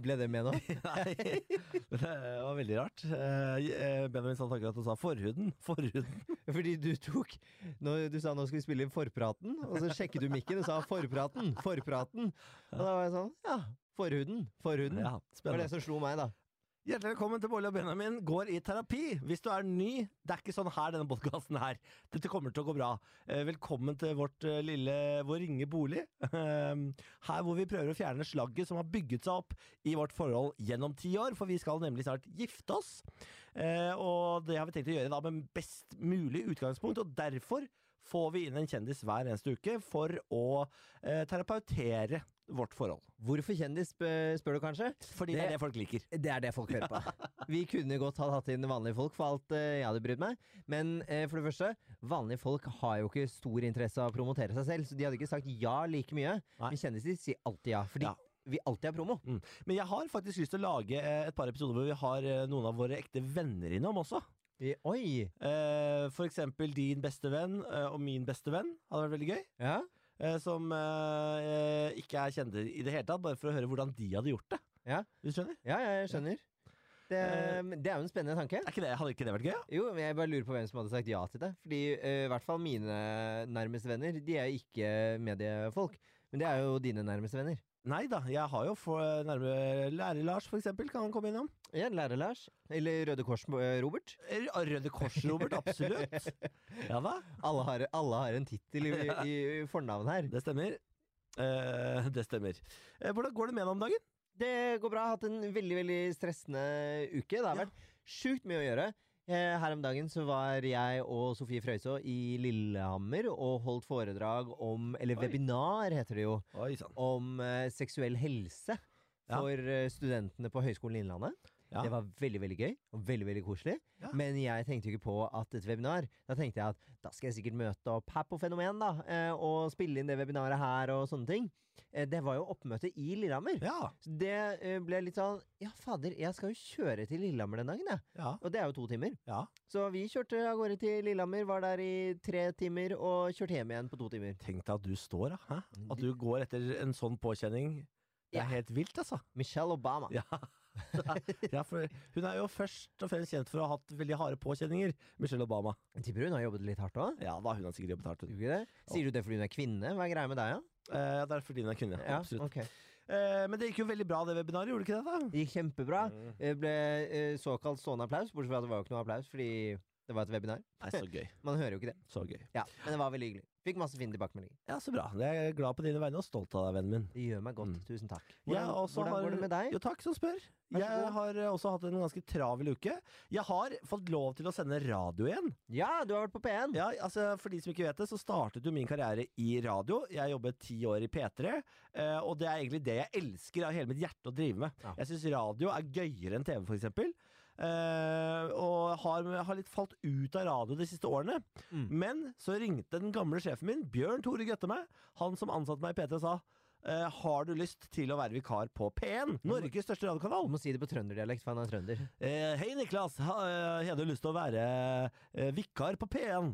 Ble det med nå? Nei, det var veldig rart. Eh, Benjamin sa akkurat og sa forhuden. Forhuden. Fordi du tok når Du sa nå skal vi spille inn Forpraten, og så sjekket du mikken og sa Forpraten, Forpraten. Og da var jeg sånn Ja, forhuden, forhuden. Ja, det var det spennende. som slo meg, da. Hjertelig velkommen til Bolle og Benjamin går i terapi. Hvis du er ny, det er ikke sånn her denne podkasten her. Dette kommer til å gå bra. Eh, Velkommen til vårt eh, lille vår ringe bolig. Eh, Her hvor vi prøver å fjerne slagget som har bygget seg opp i vårt forhold gjennom ti år, for vi skal nemlig snart gifte oss. Eh, Og det har vi tenkt å gjøre da med best mulig utgangspunkt, og derfor får vi inn en kjendis hver eneste uke for å eh, terapeutere vårt forhold. Hvorfor kjendis, sp- spør du kanskje? Fordi det er det folk liker. Det er det folk hører på. Vi kunne godt ha hatt inn vanlige folk for alt eh, jeg hadde brydd meg. Men eh, for det første, vanlige folk har jo ikke stor interesse av å promotere seg selv, så de hadde ikke sagt ja like mye. Nei. Men kjendiser sier alltid ja, fordi Ja. vi alltid har promo. Mm. Men jeg har faktisk lyst til å lage eh, et par episoder hvor vi har eh, noen av våre ekte venner innom også. I- Oi! Eh, For eksempel din beste venn eh, og min beste venn. Hadde vært veldig gøy. Ja. Eh, Som eh, ikke er kjente i det hele tatt, bare for å høre hvordan de hadde gjort det. Ja, Du skjønner? ja, ja jeg skjønner. Det, det er jo en spennende tanke. Er ikke det, hadde ikke det vært gøy? da? Jo, men jeg bare lurer på hvem som hadde sagt ja til det. Fordi eh, i hvert fall mine nærmeste venner, de er jo ikke mediefolk. Men det er jo dine nærmeste venner. Nei da, jeg har jo for eh, nærme Lærer-Lars, for eksempel, kan han komme innom. Ja, Lærer-Lars. Eller Røde Kors-Robert. Eh, Røde Kors-Robert, absolutt. Ja da, Alle har, alle har en tittel i, i, i fornavn her. det stemmer. Eh, det stemmer. Eh, hvordan går det med deg om dagen? Det går bra. Jeg har hatt en veldig veldig stressende uke. Det har Ja. vært sjukt mye å gjøre. Eh, Her om dagen så var jeg og Sofie Frøysaa i Lillehammer og holdt foredrag om Eller Oi. webinar, heter det jo. Oi sann. Om eh, seksuell helse Ja. for eh, studentene på Høgskolen Innlandet. Ja. Det var veldig veldig gøy og veldig veldig koselig. Ja. Men jeg tenkte jo ikke på at et webinar Da tenkte jeg at da skal jeg sikkert møte opp her på Fenomen da eh, og spille inn det webinaret her og sånne ting. Eh, Det var jo oppmøte i Lillehammer. Ja. Så det eh, ble litt sånn Ja, fader, jeg skal jo kjøre til Lillehammer den dagen, jeg. Ja. Og det er jo to timer. ja. Så vi kjørte av gårde til Lillehammer, var der i tre timer og kjørte hjem igjen på to timer. Tenk deg at du står, da. Hæ? At du går etter en sånn påkjenning. Det Ja. er helt vilt, altså. Michelle Obama. Ja. ja, for hun er jo først og fremst kjent for å ha hatt veldig harde påkjenninger, Michelle Obama. Jeg Tipper hun har jobbet litt hardt òg. Ja da, hun har sikkert jobbet hardt. hun. Sier du det fordi hun er kvinne? Hva er greia med deg, da? Eh, ja, det er fordi hun er kvinne. absolutt. ok. Eh, men det gikk jo veldig bra, det webinaret, gjorde det ikke det? da? Det gikk kjempebra. Mm. Det ble eh, såkalt stående applaus, bortsett fra at det var jo ikke noe applaus fordi det var et webinar. Nei, så gøy. Man hører jo ikke det. Så gøy. Ja, Men det var veldig hyggelig. Fikk masse fine tilbakemeldinger. Ja, så bra. Jeg er glad på dine vegne og stolt av deg, vennen min. Det gjør meg godt. Mm. Tusen takk. Jeg Hvordan, også hvordan har- går det med deg? Jo, takk som spør. Vær så Jeg god. har eh, også hatt en ganske travel uke. Jeg har fått lov til å sende radio igjen. Ja, du har vært på P1! Ja, altså For de som ikke vet det, så startet jo min karriere i radio. Jeg jobbet ti år i P3, eh, og det er egentlig det jeg elsker av hele mitt hjerte å drive med. Ja. Jeg syns radio er gøyere enn TV, f.eks. Uh, og har, har litt falt ut av radio de siste årene. Mm. Men så ringte den gamle sjefen min, Bjørn Tore Gøtte, meg. Han som ansatte meg i P3, sa eh, har du lyst til å være vikar på P1, Norges største radiokanal? Du må si det på trønderdialekt, for han er trønder. Eh, Hei Niklas, ha, eh, har du lyst til å være eh, vikar på P1?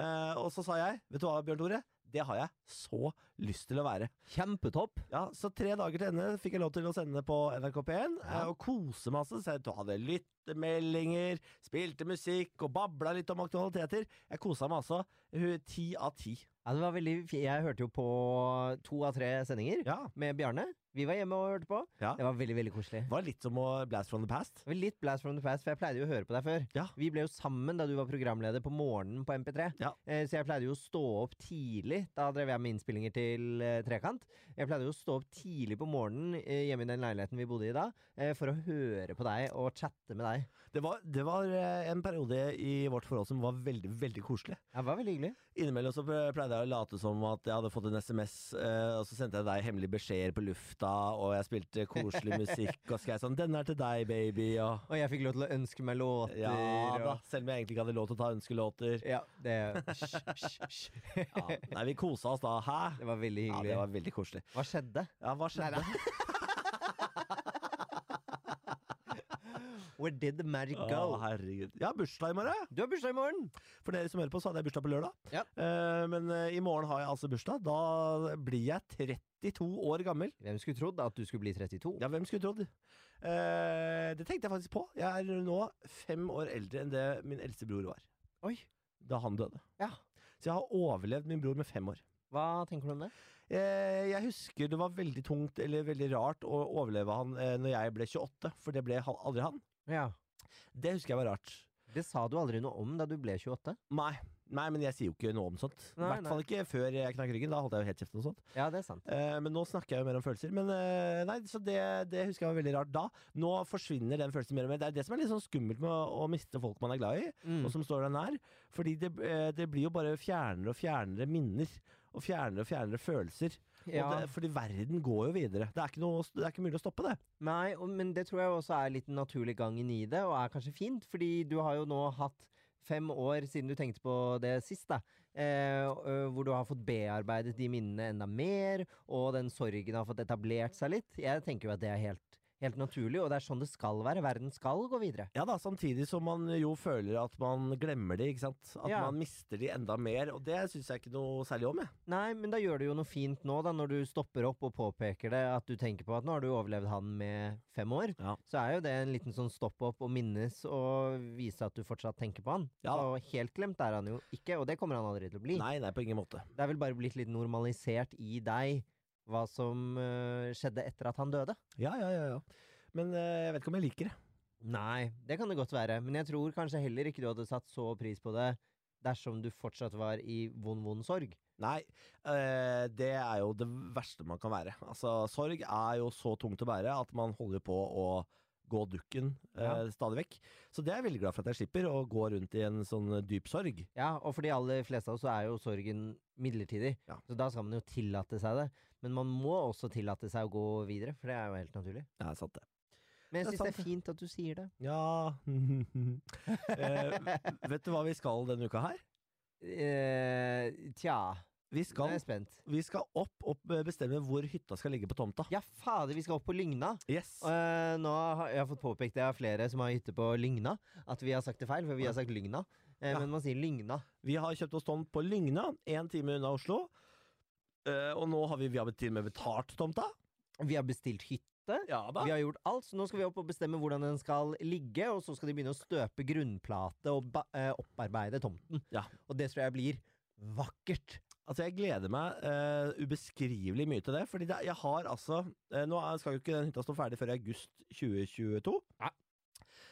Eh, og så sa jeg, vet du hva Bjørn Tore? Det har jeg så lyst til å være. Kjempetopp! Ja, Så tre dager til ende fikk jeg lov til å sende på NRK P1 Ja. eh, og kose masse. Så jeg hadde lyttemeldinger, spilte musikk og babla litt om aktualiteter. Jeg kosa meg altså eh, ti av ti. Ja, det var veldig fi- Jeg hørte jo på to av tre sendinger Ja. med Bjarne. Vi var hjemme og hørte på. Ja. Det var veldig, veldig koselig. Det var litt som å blast from the past. Det var Litt blast from the past, for jeg pleide jo å høre på deg før. Ja. Vi ble jo sammen da du var programleder på morgenen på MP3. Ja. Eh, Så jeg pleide jo å stå opp tidlig. Da drev jeg med innspillinger til eh, Trekant. Jeg pleide jo å stå opp tidlig på morgenen eh, hjemme i den leiligheten vi bodde i da, eh, for å høre på deg og chatte med deg. Det var, det var eh, en periode i vårt forhold som var veldig, veldig koselig. Ja, Det var veldig hyggelig. Innimellom så pleide jeg å late som at jeg hadde fått en SMS, eh, og så sendte jeg deg hemmelige beskjeder på lufta, og jeg spilte koselig musikk, og skrev sånn 'Den er til deg, baby', og Og jeg fikk lov til å ønske meg låter. ja da, Og, selv om jeg egentlig ikke hadde lov til å ta ønskelåter. ja, det, hysj, hysj, hysj. Ja. Nei, vi kosa oss da. Hæ? det var veldig Ja, hyggelig. det var veldig koselig. Hva skjedde? Ja, hva skjedde? Where did the magic Å, go? herregud. Jeg har bursdag i morgen. Du har bursdag i morgen! For dere som hører på, så hadde jeg bursdag på lørdag. Ja. Eh, men eh, i morgen har jeg altså bursdag. Da blir jeg 32 år gammel. Hvem skulle trodd at du skulle bli 32? Ja, hvem skulle trodd? Eh, det tenkte jeg faktisk på. Jeg er nå fem år eldre enn det min eldste bror var Oi. da han døde. Ja. Så jeg har overlevd min bror med fem år. Hva tenker du om det? Eh, jeg husker det var veldig tungt eller veldig rart å overleve han eh, når jeg ble 28, for det ble han, aldri han. Ja. Det husker jeg var rart. Det sa du aldri noe om da du ble 28. Nei, nei men jeg sier jo ikke noe om sånt. I Nei, hvert fall ikke før jeg knakk ryggen. Da holdt jeg jo helt kjeften og sånt. Ja, det er sant. Eh, men nå snakker jeg jo mer om følelser. Men eh, nei, så det, det husker jeg var veldig rart da. Nå forsvinner den følelsen mer og mer. Det er det som er litt sånn skummelt med å, å miste folk man er glad i, Mm. og som står deg nær. Fordi det, eh, det blir jo bare fjernere og fjernere minner. Og fjernere og fjernere følelser. Ja. Og det, fordi verden går jo videre. Det er, ikke noe, det er ikke mulig å stoppe det. Nei, og, men det tror jeg også er litt den naturlige gangen i det, og er kanskje fint, fordi du har jo nå hatt fem år siden du tenkte på det sist, da. Eh, ø, hvor du har fått bearbeidet de minnene enda mer, og den sorgen har fått etablert seg litt. Jeg tenker jo at det er helt, helt naturlig, og det er sånn det skal være. Verden skal gå videre. Ja da, samtidig som man jo føler at man glemmer de, ikke sant. At Ja. man mister de enda mer. Og det syns jeg ikke noe særlig om, jeg. Nei, men da gjør du jo noe fint nå, da, når du stopper opp og påpeker det, at du tenker på at nå har du overlevd han med fem år. Ja. Så er jo det en liten sånn stopp opp og minnes og vise at du fortsatt tenker på han. Ja da. Og helt glemt er han jo ikke, og det kommer han aldri til å bli. Nei, nei, på ingen måte. Det er vel bare blitt litt normalisert i deg hva som øh, skjedde etter at han døde. Ja, ja, ja. ja. Men eh, jeg vet ikke om jeg liker det. Nei, det kan det godt være, men jeg tror kanskje heller ikke du hadde satt så pris på det dersom du fortsatt var i vond, vond sorg. Nei, eh, det er jo det verste man kan være. Altså, sorg er jo så tungt å bære at man holder på å gå dukken eh, Ja. stadig vekk. Så det er jeg veldig glad for at jeg slipper å gå rundt i en sånn dyp sorg. Ja, og for de aller fleste av oss så er jo sorgen midlertidig, Ja. så da skal man jo tillate seg det. Men man må også tillate seg å gå videre, for det er jo helt naturlig. Ja, sant det. Men jeg Det er syns det sant, det. er fint at du sier det. Ja eh, Vet du hva vi skal denne uka her? Eh, tja, Vi nå skal, er jeg spent. vi skal opp og bestemme hvor hytta skal ligge på tomta. Ja, fader, vi skal opp på Lygna. Yes. Eh, nå har jeg har fått påpekt det av flere som har hytte på Lygna, at vi har sagt det feil, for vi har sagt Lygna. Eh, Ja. Men man sier Lygna. Vi har kjøpt oss tomt på Lygna, én time unna Oslo. Eh, og nå har vi, vi har til og med betalt tomta. Vi har bestilt hytte. Ja da. Vi har gjort alt, så nå skal vi opp og bestemme hvordan den skal ligge, og så skal de begynne å støpe grunnplate og ba eh, opparbeide tomten. Ja. Og det tror jeg blir vakkert. Altså, jeg gleder meg eh, ubeskrivelig mye til det. Fordi det, jeg har altså eh, Nå er- skal jo ikke den hytta stå ferdig før i august 2022. Nei.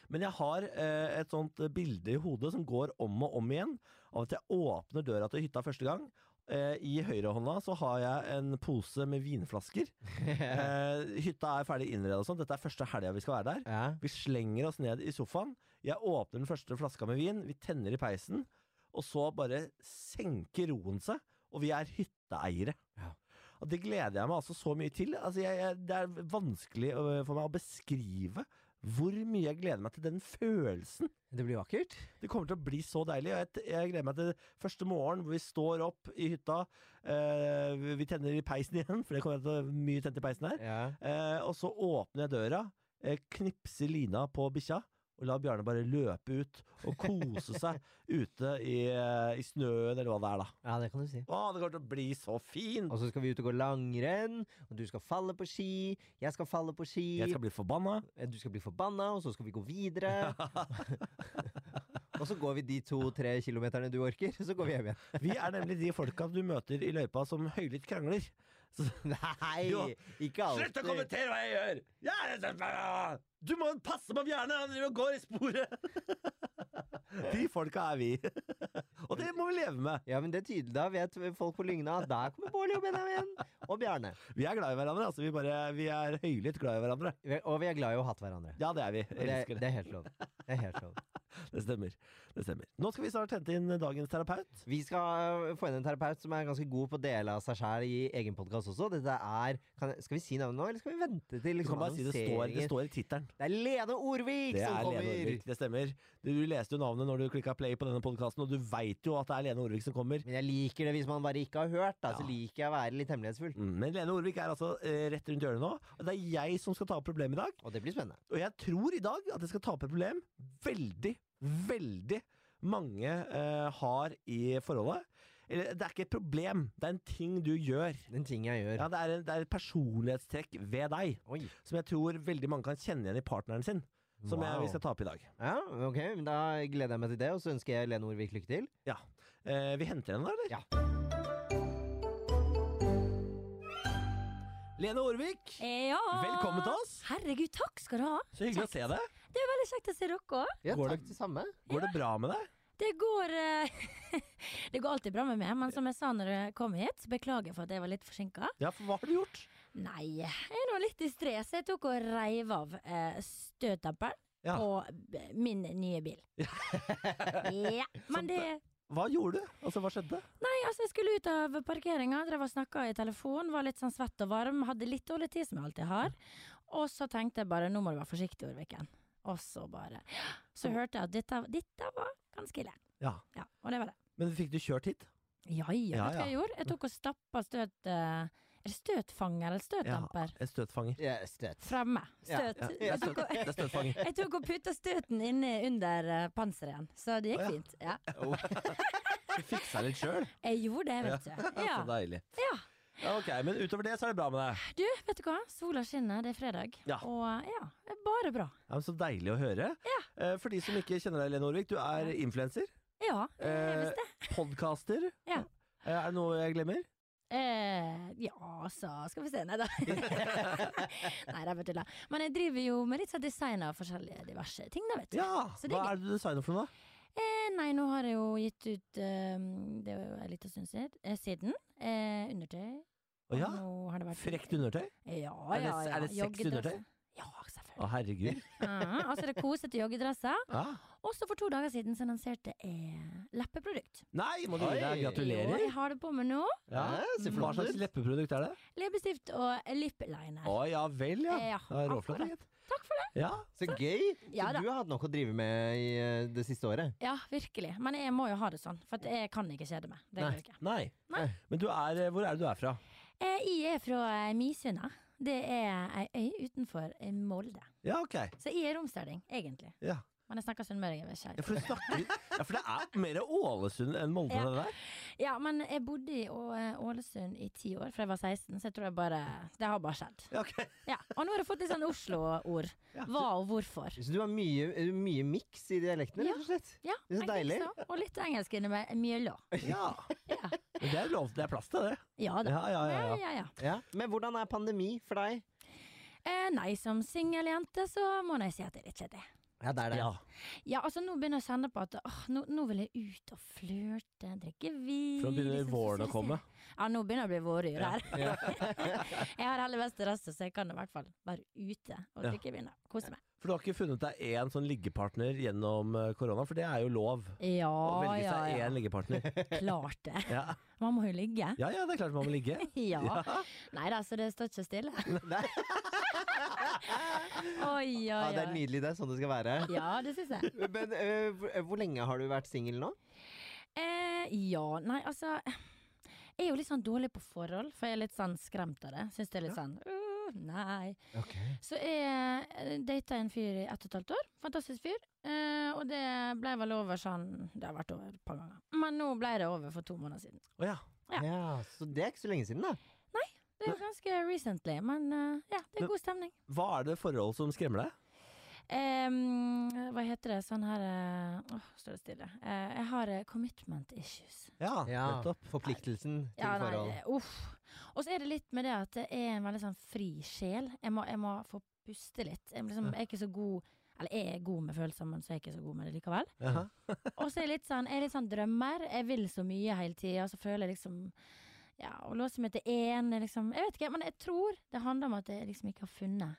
Men jeg har eh, et sånt eh, bilde i hodet som går om og om igjen, av at jeg åpner døra til hytta første gang. Eh, I høyrehånda så har jeg en pose med vinflasker. Eh, hytta er ferdig innredet og sånn. Dette er første helga vi skal være der. ja. Vi slenger oss ned i sofaen. Jeg åpner den første flaska med vin. Vi tenner i peisen. Og så bare senker roen seg, og vi er hytteeiere. Ja. Og det gleder jeg meg altså så mye til. Altså jeg, jeg, det er vanskelig øh, for meg å beskrive hvor mye jeg gleder meg til den følelsen. Det blir vakkert. Det kommer til å bli så deilig. og Jeg, t- jeg gleder meg til første morgen hvor vi står opp i hytta. øh, vi- vi tenner i peisen igjen, for det kommer til å være mye tent i peisen her. Ja. Eh, og så åpner jeg døra, eh, knipser lina på bikkja, og lar Bjarne bare løpe ut og kose seg ute i, eh, i snøen, eller hva det er, da. det kan du si. Å, det kommer til å bli så fint! Og så skal vi ut og gå langrenn, og du skal falle på ski, jeg skal falle på ski, Jeg skal bli forbanna. eh, du skal bli forbanna, og så skal vi gå videre. og så går vi de to-tre kilometerne du orker, så går vi hjem igjen. Vi er nemlig de folka du møter i løypa som høylytt krangler. Nei, Jo. ikke alltid. kommentere hva jeg gjør! ah! Du må passe på Bjarne, han driver og går i sporet! De folka er vi. Og det må vi leve med. Ja, men det er tydelig. Da vet folk på Lygna at der kommer Bård og Benjamin og Bjarne. Vi er glad i hverandre, altså. Vi, bare, vi er høylytt glad i hverandre. Vi- Og vi er glad i å hate hverandre. Ja, det er vi. Og Jeg Det, elsker det. det er helt lov. Det er helt lov. det stemmer. Det stemmer. Nå skal vi snart hente inn dagens terapeut. Vi skal eh, få inn en terapeut som er ganske god på å dele av seg sjæl i egen podkast også. Dette er kan, jeg- Skal vi si navnet nå, eller skal vi vente til Du kan liksom, bare si det står, det annonseringen? står i tittelen. Det er Lene Orvik Det som er kommer! Lene Orvik, det stemmer. Du leste jo navnet når du klikka play på denne podkasten, og du veit jo at det er Lene Orvik som kommer. Men jeg liker det hvis man bare ikke har hørt, da. Så Ja. liker jeg å være litt hemmelighetsfull. Mm, Men Lene Orvik er altså eh, rett rundt hjørnet nå. og Det er jeg som skal ta opp problemet i dag. Og det blir spennende. Og jeg tror i dag at jeg skal ta opp et problem veldig, veldig mange eh, har i forholdet. Eller det er ikke et problem, det er en ting du gjør. Den ting jeg gjør. Ja, det, er en, det er et personlighetstrekk ved deg Oi. som jeg tror veldig mange kan kjenne igjen i partneren sin. Som jeg, vi skal ta opp i dag. Ja, ok. men Da gleder jeg meg til det, og så ønsker jeg Lene Orvik lykke til. Eh, vi henter henne, da, eller? Lene Orvik, Ja. velkommen til oss! Herregud, Ah. takk skal du ha. Så hyggelig å se deg. Veldig kjekt å se dere òg. Ja, Går takk det samme. Går det bra med deg? Det går eh, Det går alltid bra med meg, men som jeg sa når jeg kom hit, beklager for at jeg var litt forsinka. Ja, for hva har du gjort? Nei, jeg er nå litt distré, så jeg tok og reiv av eh, støtdemperen Ja. på b- min nye bil. ja. Men det Hva gjorde du? Altså, hva skjedde? Nei, altså, jeg skulle ut av parkeringa, drev og snakka i telefon, var litt sånn svett og varm, hadde litt dårlig tid, som jeg alltid har. Og så tenkte jeg bare, nå må du være forsiktig, Orviken. Og så bare Så hørte jeg at dette, dette var ganske ille. Ja. Ja, og det var det. Men fikk du kjørt hit? Ja, ja, Ja, vet du hva jeg gjorde? Jeg tok og stappa støt... eh, Er det støtfanger eller støtdamper? En støtfanger. Ja, støt. Fremme. Støt. Ja, det er Jeg støt- tok og- det er støtfanger. Jeg tok og putta støten inni under eh, panseret igjen, så det gikk Å, ja. fint. Ja. Du fiksa litt sjøl. Jeg gjorde det, vet du. Ja. Så deilig. ja. Ja, ok, Men utover det så er det bra med deg. Du, vet du hva? Sola skinner, det er fredag. Ja. Og ja, det er bare bra. Ja, men Så deilig å høre. Eh, For de som ikke kjenner deg, Lene Orvik, du er influenser, Ja, det er Eh, visst det. podkaster. Ja. Eh, Er det noe jeg glemmer? Eh, ja, så skal vi se. Nei da. Nei, det er bare tulla. Men jeg driver jo med litt sånn design av forskjellige diverse ting, da, vet du. Ja! Så det er Hva gøy. er det du designer for noe, da? Eh, nei, nå har jeg jo gitt ut eh, Det er jo en liten stund siden. Eh, siden eh, undertøy. Å ja, Og Nå har det vært Frekt undertøy? Ja, Er det- ja, ja. er det sexy Joggedress. undertøy? Ah. Ja, Å, selvfølgelig. herregud. Ja, altså det er kosete joggedresser. Ja. Og så for to dager siden så lanserte jeg leppeprodukt. Nei, må du gi deg. Oi. Jo, Gratulerer. jeg har det på meg nå. Ja. Mm. Ja, ser Hva flott slags ut. leppeprodukt er det? Leppestift og lipliner. Å ja vel, ja. Eh, ja, Det er råflott, akkurat. gitt. Takk for det. Ja. Så gøy! Så Ja da. du har hatt nok å drive med i eh, det siste året. Ja, virkelig. Men jeg må jo ha det sånn, for at jeg kan ikke kjede meg. Nei. Det går jo ikke. Nei. Eh, Nei. Men du er, hvor er det du er fra? Eh, Jeg er fra eh, Misunda. Det er ei øy utenfor eh, Molde. Ja, ok. Så jeg er romsdøling, egentlig. Ja. Men jeg snakker sunnmøring Ja, over skeiv. for, du snakker, ja, for det er mer Ålesund enn Molde, Ja. det der? Ja, men jeg bodde i Å- eh, Ålesund i ti år, fra jeg var 16, så jeg tror jeg bare Det har bare skjedd. Ja, ok. Ja. Og nå har jeg fått litt sånn Oslo-ord. Ja. Hva og hvorfor. Så du har mye, eh, mye miks i dialektene, Ja. rett og slett. Ja, Det er så jeg tenker deilig. så. Og litt engelsk inni meg. Mjøla. Ja. Ja. Men det er lov, det er plass til det. Ja da. Ja, ja, ja. Ja, ja. ja, ja. Ja. Men hvordan er pandemi for deg? Eh, nei, som singeljente så må jeg si at det er litt kjedelig. Ja, det er det. ja. Ja, altså nå begynner jeg å kjenne på at åh, nå, nå vil jeg ut og flørte, drikke vin For nå begynner liksom våren å sosialisere. komme. Ja, nå begynner det å bli våryr Ja. her. jeg har heller best rest, så jeg kan i hvert fall være ute og Ja. drikke vin og kose meg. For du har ikke funnet deg én sånn liggepartner gjennom eh, korona, for det er jo lov. Ja, Å velge ja, seg én ja. liggepartner. Klart det. Ja. Man må jo ligge. ja ja, det er klart man må ligge. Ja. Nei da, så det står ikke stille. Nei. Oi, oi, Ja, det er oi. nydelig. Det er sånn det skal være. Ja, det syns jeg. Men eh, hvor, eh, hvor lenge har du vært singel nå? Eh, ja, nei, altså Jeg er jo litt sånn dårlig på forhold, for jeg er litt sånn skremt av det. Syns det er litt sånn «Åh, Nei. Så jeg eh, data en fyr i ett og et halvt år. Fantastisk fyr. Eh, og det ble vel over sånn Det har vært over et par ganger. Men nå ble det over for to måneder siden. Å ja. Ja. Så det er ikke så lenge siden, da. Det er jo ganske recently, men eh, ja, det Men- er god stemning. Hva er det forhold som skremmer deg? Eh, hva heter det sånn her eh, Åh, står det stille. Eh, jeg har eh, commitment issues. Ja, Ah, nettopp. Forpliktelsen til Ja, nei, eh, forhold. det- uff. Og så er det litt med det at jeg er en veldig sånn fri sjel. Jeg må, jeg må få puste litt. Jeg, liksom, jeg er ikke så god Eller jeg er god med følelser, men så er jeg ikke så god med det likevel. Ja. Og så er jeg litt sånn, jeg er litt sånn drømmer. Jeg vil så mye hele tida, og så føler jeg liksom Ja, å låse meg til én er liksom Jeg vet ikke, men jeg tror det handler om at jeg liksom ikke har funnet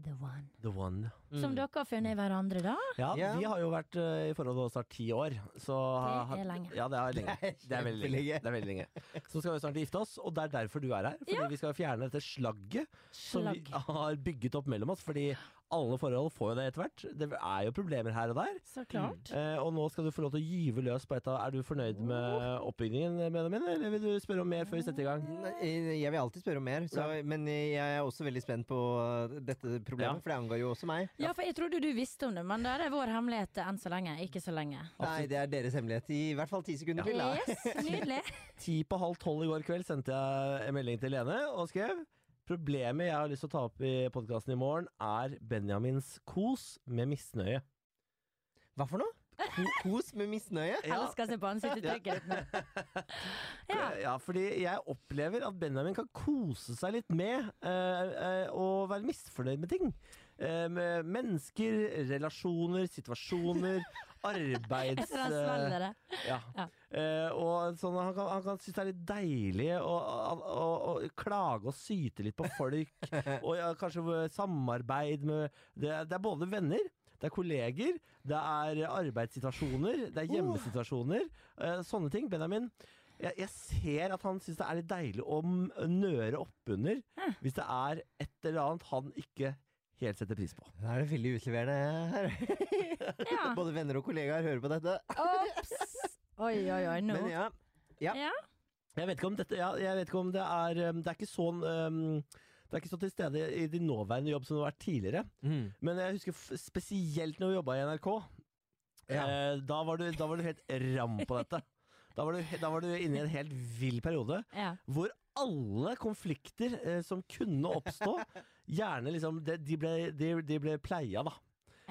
The One. The one. Mm. Som dere har funnet i hverandre, da? Ja, Ja. vi har jo vært eh, i forhold og snart ti år. Så, Det er lenge. Ah, Ja, det er lenge. Det er Det er veldig lenge. kjempelenge. Det er veldig lenge. Så skal vi snart gifte oss, og det er derfor du er her. Fordi vi skal fjerne dette slagget som vi ah. Slagg. har bygget opp mellom oss. Fordi alle forhold får jo det etter hvert. Det er jo problemer her og der. Så klart. Eh, og nå skal du få lov til å gyve løs på et av Er du fornøyd med oppbyggingen, Benjamin, eller vil du spørre om mer før vi setter i gang? Nei, eh, Jeg vil alltid spørre om mer, så, men eh, jeg er også veldig spent på eh, dette Ja. problemet, for det angår jo også meg. Ja, for jeg trodde du visste om det, men det er vår hemmelighet enn så lenge. Ikke så lenge. Nei, det er deres hemmelighet. I hvert fall ti sekunder til, da. Yes, nydelig. Ti på halv tolv i går kveld sendte jeg en melding til Lene og skrev Problemet jeg har lyst til å ta opp i podkasten i morgen, er Benjamins kos med misnøye. Hva for noe? Ko kos med misnøye? Elsker seg på ansiktsuttrykket ditt nå. Ja. Ja, fordi jeg opplever at Benjamin kan kose seg litt med eh, eh, å være misfornøyd med ting. Eh, med mennesker, relasjoner, situasjoner, arbeids... Jeg tror han svelger det. Ja. Ja. Eh, og sånn, han kan, han kan synes det er litt deilig å, å, å, å klage og syte litt på folk. og ja, kanskje hvor- samarbeid med det, er- det er både venner, det er kolleger, det er arbeidssituasjoner, det er hjemmesituasjoner. eh, sånne ting. Benjamin, jeg, jeg ser at han syns det er litt deilig å m- nøre oppunder hvis det er et eller annet han ikke helt setter pris på. Da er det veldig utleverende her. Ja. Både venner og kollegaer hører på dette. Ops! Oi, oi, oi, nå. Men ja, ja. Ja. Jeg vet ikke om, dette, ja, jeg vet ikke om det er um, Det er ikke sånn um, det er ikke så til stede i din nåværende jobb som det har vært tidligere. Mm. Men jeg husker f spesielt når vi jobba i NRK. Ja. Eh, da, var du, da var du helt ram på dette. Da var, du, da var du inne i en helt vill periode Ja. hvor alle konflikter eh, som kunne oppstå, gjerne liksom De, de, ble, de, de ble pleia, da.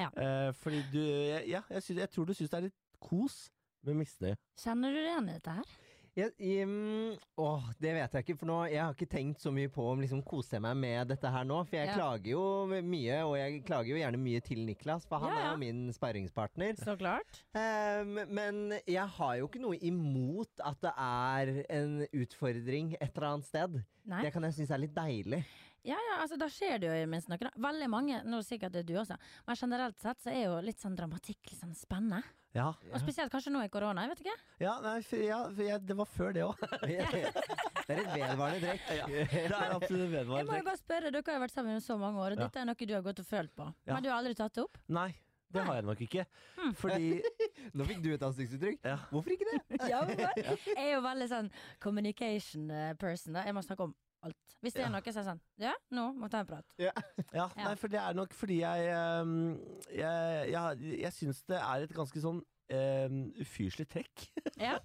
Ja. Eh, fordi du Ja, jeg, sy- jeg tror du syns det er litt kos med misnøye. Kjenner du deg igjen i dette her? Jeg, mm, åh, det vet jeg ikke, for nå, jeg har ikke tenkt så mye på om liksom koser jeg meg med dette her nå. For jeg Ja. klager jo mye, og jeg klager jo gjerne mye til Niklas, for han Ja, er ja. jo min sparringspartner. Så klart. Ehm, men jeg har jo ikke noe imot at det er en utfordring et eller annet sted. Nei. Det kan jeg synes er litt deilig. Ja, ja, altså da skjer det jo i minst noe. da. Veldig mange, nå sikkert det er du også, men generelt sett så er jo litt sånn dramatikk litt sånn spennende. Ja, Og spesielt kanskje nå i korona, jeg vet ikke. ja, nei, f ja for jeg, det var før det òg. det er et vedvarende trekk. Det er absolutt Jeg må jo vedvarende. bare spørre, dere har jo vært sammen i så mange år, og Ja. dette er noe du har gått og følt på. Ja. Men du har aldri tatt det opp? Nei, det har jeg nok ikke. Hmm. Fordi Nå fikk du et ansiktsuttrykk. Ja. Hvorfor ikke det? Ja, men jeg er jo veldig sånn communication eh, person. Da. Jeg må snakke om alt. Hvis det er noe, så er jeg sånn Ja, nå må vi ta en prat. Ja, Ja. nei, for det er nok fordi jeg ehm, Jeg, jeg, jeg syns det er et ganske sånn ehm, ufyselig trekk. Ja.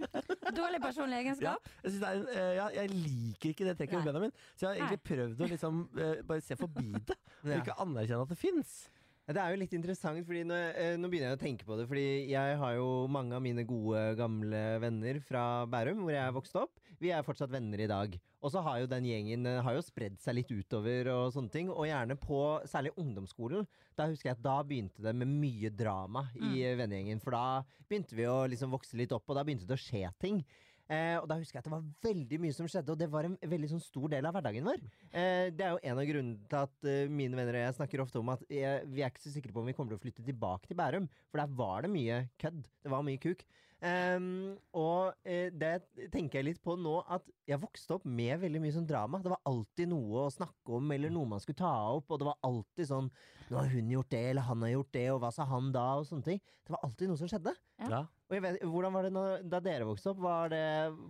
Dårlig personlig Ja, egenskap. jeg, synes det er en, eh, ja, jeg liker ikke det trekket ved Nei. Benjamin, så jeg har egentlig prøvd å liksom eh, bare se forbi det. Og Ja. ikke anerkjenne at det fins. Ja, Det er jo litt interessant, fordi nå, eh, nå begynner jeg å tenke på det. Fordi jeg har jo mange av mine gode, gamle venner fra Bærum, hvor jeg er vokst opp. Vi er fortsatt venner i dag. Og så har jo den gjengen eh, har jo spredd seg litt utover og sånne ting. Og gjerne på særlig ungdomsskolen. Da husker jeg at da begynte det med mye drama i eh, vennegjengen. For da begynte vi å liksom vokse litt opp, og da begynte det å skje ting. Eh, og da husker jeg at det var veldig mye som skjedde, og det var en veldig sånn stor del av hverdagen vår. Eh, det er jo en av grunnene til at eh, mine venner og jeg snakker ofte om at eh, vi er ikke så sikre på om vi kommer til å flytte tilbake til Bærum, for der var det mye kødd. Det var mye kuk. Ehm, og eh, det tenker jeg litt på nå, at jeg vokste opp med veldig mye sånn drama. Det var alltid noe å snakke om, eller noe man skulle ta opp, og det var alltid sånn Nå har hun gjort det, eller han har gjort det, og hva sa han da, og sånne ting. Det var alltid noe som skjedde. Ja. Ja. Og jeg vet, hvordan var det når, da dere vokste opp? Var det,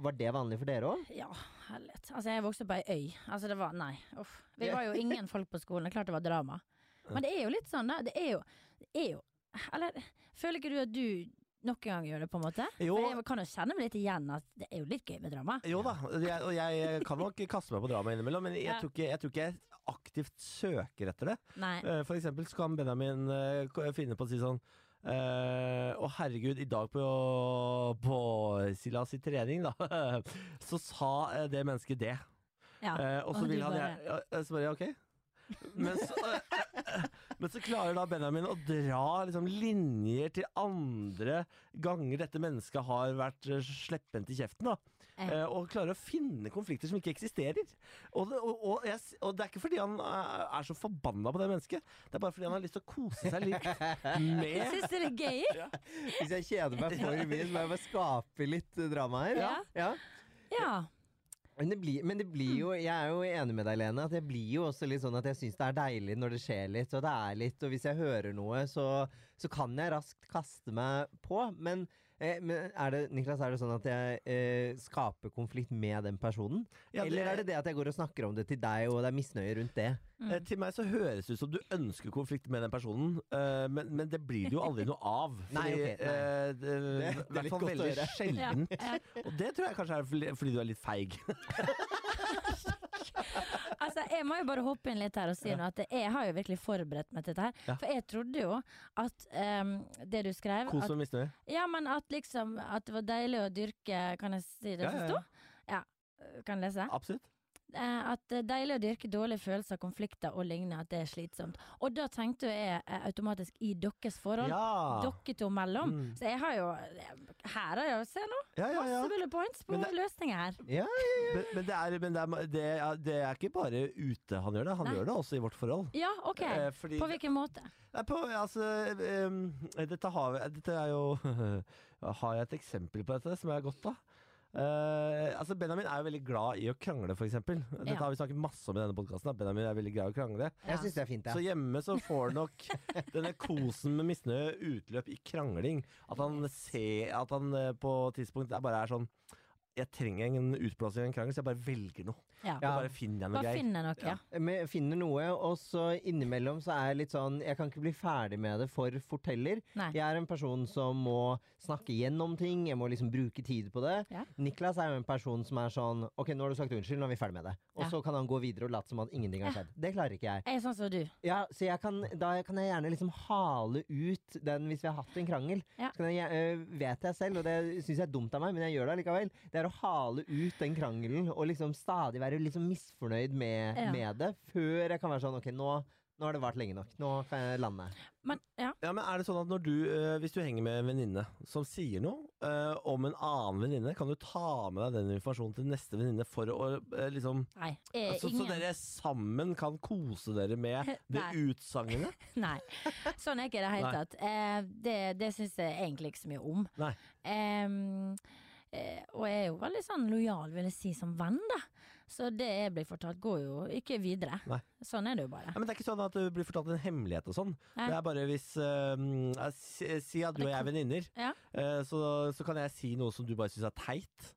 var det vanlig for dere òg? Ja, herlighet. Altså, jeg vokste opp på ei øy. Altså, det var Nei, uff. Vi var jo ingen folk på skolen. Det er klart det var drama. Men det er jo litt sånn, da. Det er jo, det er jo Eller føler ikke du at du nok en gang gjør det, på en måte? Jo. For jeg kan jo kjenne meg litt igjen at det er jo litt gøy med drama. Jo da, og jeg, og jeg kan nok kaste meg på drama innimellom, men jeg Ja. tror ikke jeg, tror ikke jeg aktivt søker etter det. Nei. Eh, For eksempel så kan Benjamin eh, k- finne på å si sånn eh, Å herregud, i dag på, på Silla sin trening da Så sa eh, det mennesket det Ja. Eh, Og så og du vil han bare- gjerne ja, Så bare, ja, ok men så, eh, Men så klarer da Benjamin å dra liksom, linjer til andre ganger dette mennesket har vært eh, slepphendt i kjeften. da Ja. Eh, Og klarer å finne konflikter som ikke eksisterer. Og det, og, og, jeg, s- og det er ikke fordi han eh, er så forbanna på det mennesket, det er bare fordi han har lyst til å kose seg litt Jeg med syns det er gøy. Hvis jeg kjeder meg for mye, så må jeg bare skape litt eh, drama her. Ja. Ja. Ja. Men det, blir, men det blir jo Jeg er jo enig med deg, Lene. At jeg blir jo også litt sånn at jeg syns det er deilig når det skjer litt, og det er litt, og hvis jeg hører noe, så, så kan jeg raskt kaste meg på. Men, eh, men er det, Niklas, er det sånn at jeg eh, skaper konflikt med den personen? Ja, Eller er det det at jeg går og snakker om det til deg, og det er misnøye rundt det? Eh, Til meg så høres det ut som du ønsker konflikt med den personen, eh, men, men det blir det jo aldri noe av. Nei, ok, nei. eh, det, det er I hvert litt fall godt å veldig høre. sjeldent. Ja, ja. Og det tror jeg kanskje er fordi- fordi du er litt feig. Altså, jeg må jo bare hoppe inn litt her og si noe. At jeg har jo virkelig forberedt meg til dette her. Ja. For jeg trodde jo at ehm, det du skrev Kos at, og misnøye. Ja, men at liksom At det var deilig å dyrke Kan jeg si det Ja, som ja, ja. sto? Ja. Kan jeg lese? Absolutt. Eh, at det er deilig å dyrke dårlige følelser, konflikter og lignende, at det er slitsomt. Og da tenkte jo jeg eh, automatisk i deres forhold. Ja. Dere to mellom. Mm. Så jeg har jo Her har jeg jo Se nå, ja, ja, ja. masse bullet points på Men det- løsninger her. Ja, Men, men, det, er, men det, er, det, er, det er ikke bare ute han gjør det, han Nei. gjør det også i vårt forhold. Ja, OK. Eh, fordi På hvilken måte? Nei, på, altså, em, dette, har, vi- dette er jo Har jeg et eksempel på dette som jeg har godt av? Eh, altså Benjamin er jo veldig glad i å krangle, f.eks. Dette Ja. har vi snakket masse om i denne podkasten. Benjamin er veldig glad i å krangle. Ja. jeg syns det er fint, Så jeg. hjemme så får nok denne kosen med misnøye utløp i krangling. At han ser At han eh, på et tidspunkt er- bare er sånn Jeg trenger en utblåsning av en krangel, så jeg bare velger noe. Ja. Ja. Jeg bare finner jeg noe Bare greier. finne noe. Ja. Eh, Men jeg finner noe, og så innimellom så er jeg litt sånn Jeg kan ikke bli ferdig med det for fort heller. Nei. Jeg er en person som må snakke gjennom ting, jeg må liksom bruke tid på det. Ja. Niklas er jo en person som er sånn Ok, nå har du sagt unnskyld, nå er vi ferdig med det. Og Ja. så kan han gå videre og late som at ingenting har Ja. skjedd. Det klarer ikke jeg. Jeg er sånn som du. Ja, så jeg kan, da kan jeg gjerne liksom hale ut den hvis vi har hatt en krangel. Ja. Så kan jeg, gjer- øh, vet jeg selv, og det syns jeg er dumt av meg, men jeg gjør det allikevel. Det er å hale ut den krangelen og liksom stadig være liksom misfornøyd med, Ja. med det. Før jeg kan være sånn Ok, nå, nå har det vart lenge nok. Nå kan jeg lande. Men ja. Ja, men er det sånn at når du, eh, Hvis du henger med en venninne som sier noe eh, om en annen venninne, kan du ta med deg den informasjonen til neste venninne for å eh, liksom Nei. Eh, altså, Så ingen. dere sammen kan kose dere med det Nei. utsagnet? Nei. Sånn er ikke det i det hele Nei. tatt. Eh, det det syns jeg egentlig ikke så mye om. Nei. Em, eh, og jeg er jo veldig sånn lojal, vil jeg si, som venn, da. Så det jeg blir fortalt, går jo ikke videre. Nei. Sånn er det jo bare. Ja, men det er ikke sånn at du blir fortalt en hemmelighet og sånn. Nei. Det er bare hvis eh, mm, eh, si, si at du og jeg er venninner, Ja. eh, så, så kan jeg si noe som du bare syns er teit.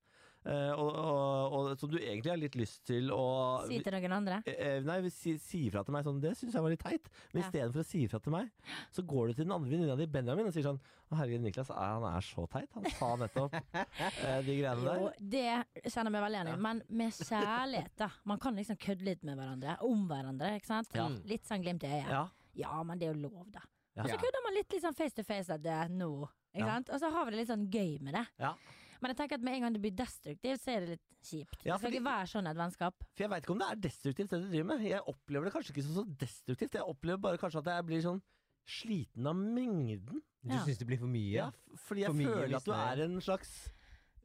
eh, og, og, og som du egentlig har litt lyst til å Si til noen andre. Eh, eh, Nei, hvis si, si ifra til meg sånn, det syns jeg var litt teit. Men Ja. istedenfor å si ifra til meg, så går du til den andre venninna di, Benjamin, og sier sånn Å herregud, Niklas, eh, han er så teit. Han sa nettopp eh, de greiene der. Jo, det kjenner jeg meg veldig igjen i, Ja. men med kjærlighet, da. Man kan liksom kødde litt med hverandre, om hverandre, ikke sant? Ja. Litt sånn glimt i øyet. Ja. Ja, men det er jo lov, da. Ja. Og så kødder man litt litt sånn face to face at det er nå. Ikke Ja. sant? Og så har vi det litt sånn gøy med det. Ja. Men jeg tenker at med en gang det blir destruktivt, så er det litt kjipt. Ja, det skal fordi- ikke være sånn et vennskap. For jeg veit ikke om det er destruktivt, det du driver med. Jeg opplever det kanskje ikke som så destruktivt. Jeg opplever bare kanskje at jeg blir sånn sliten av mengden. Du Ja. syns det blir for mye? Ja, f- fordi jeg For mye føler at du misnøye. er en slags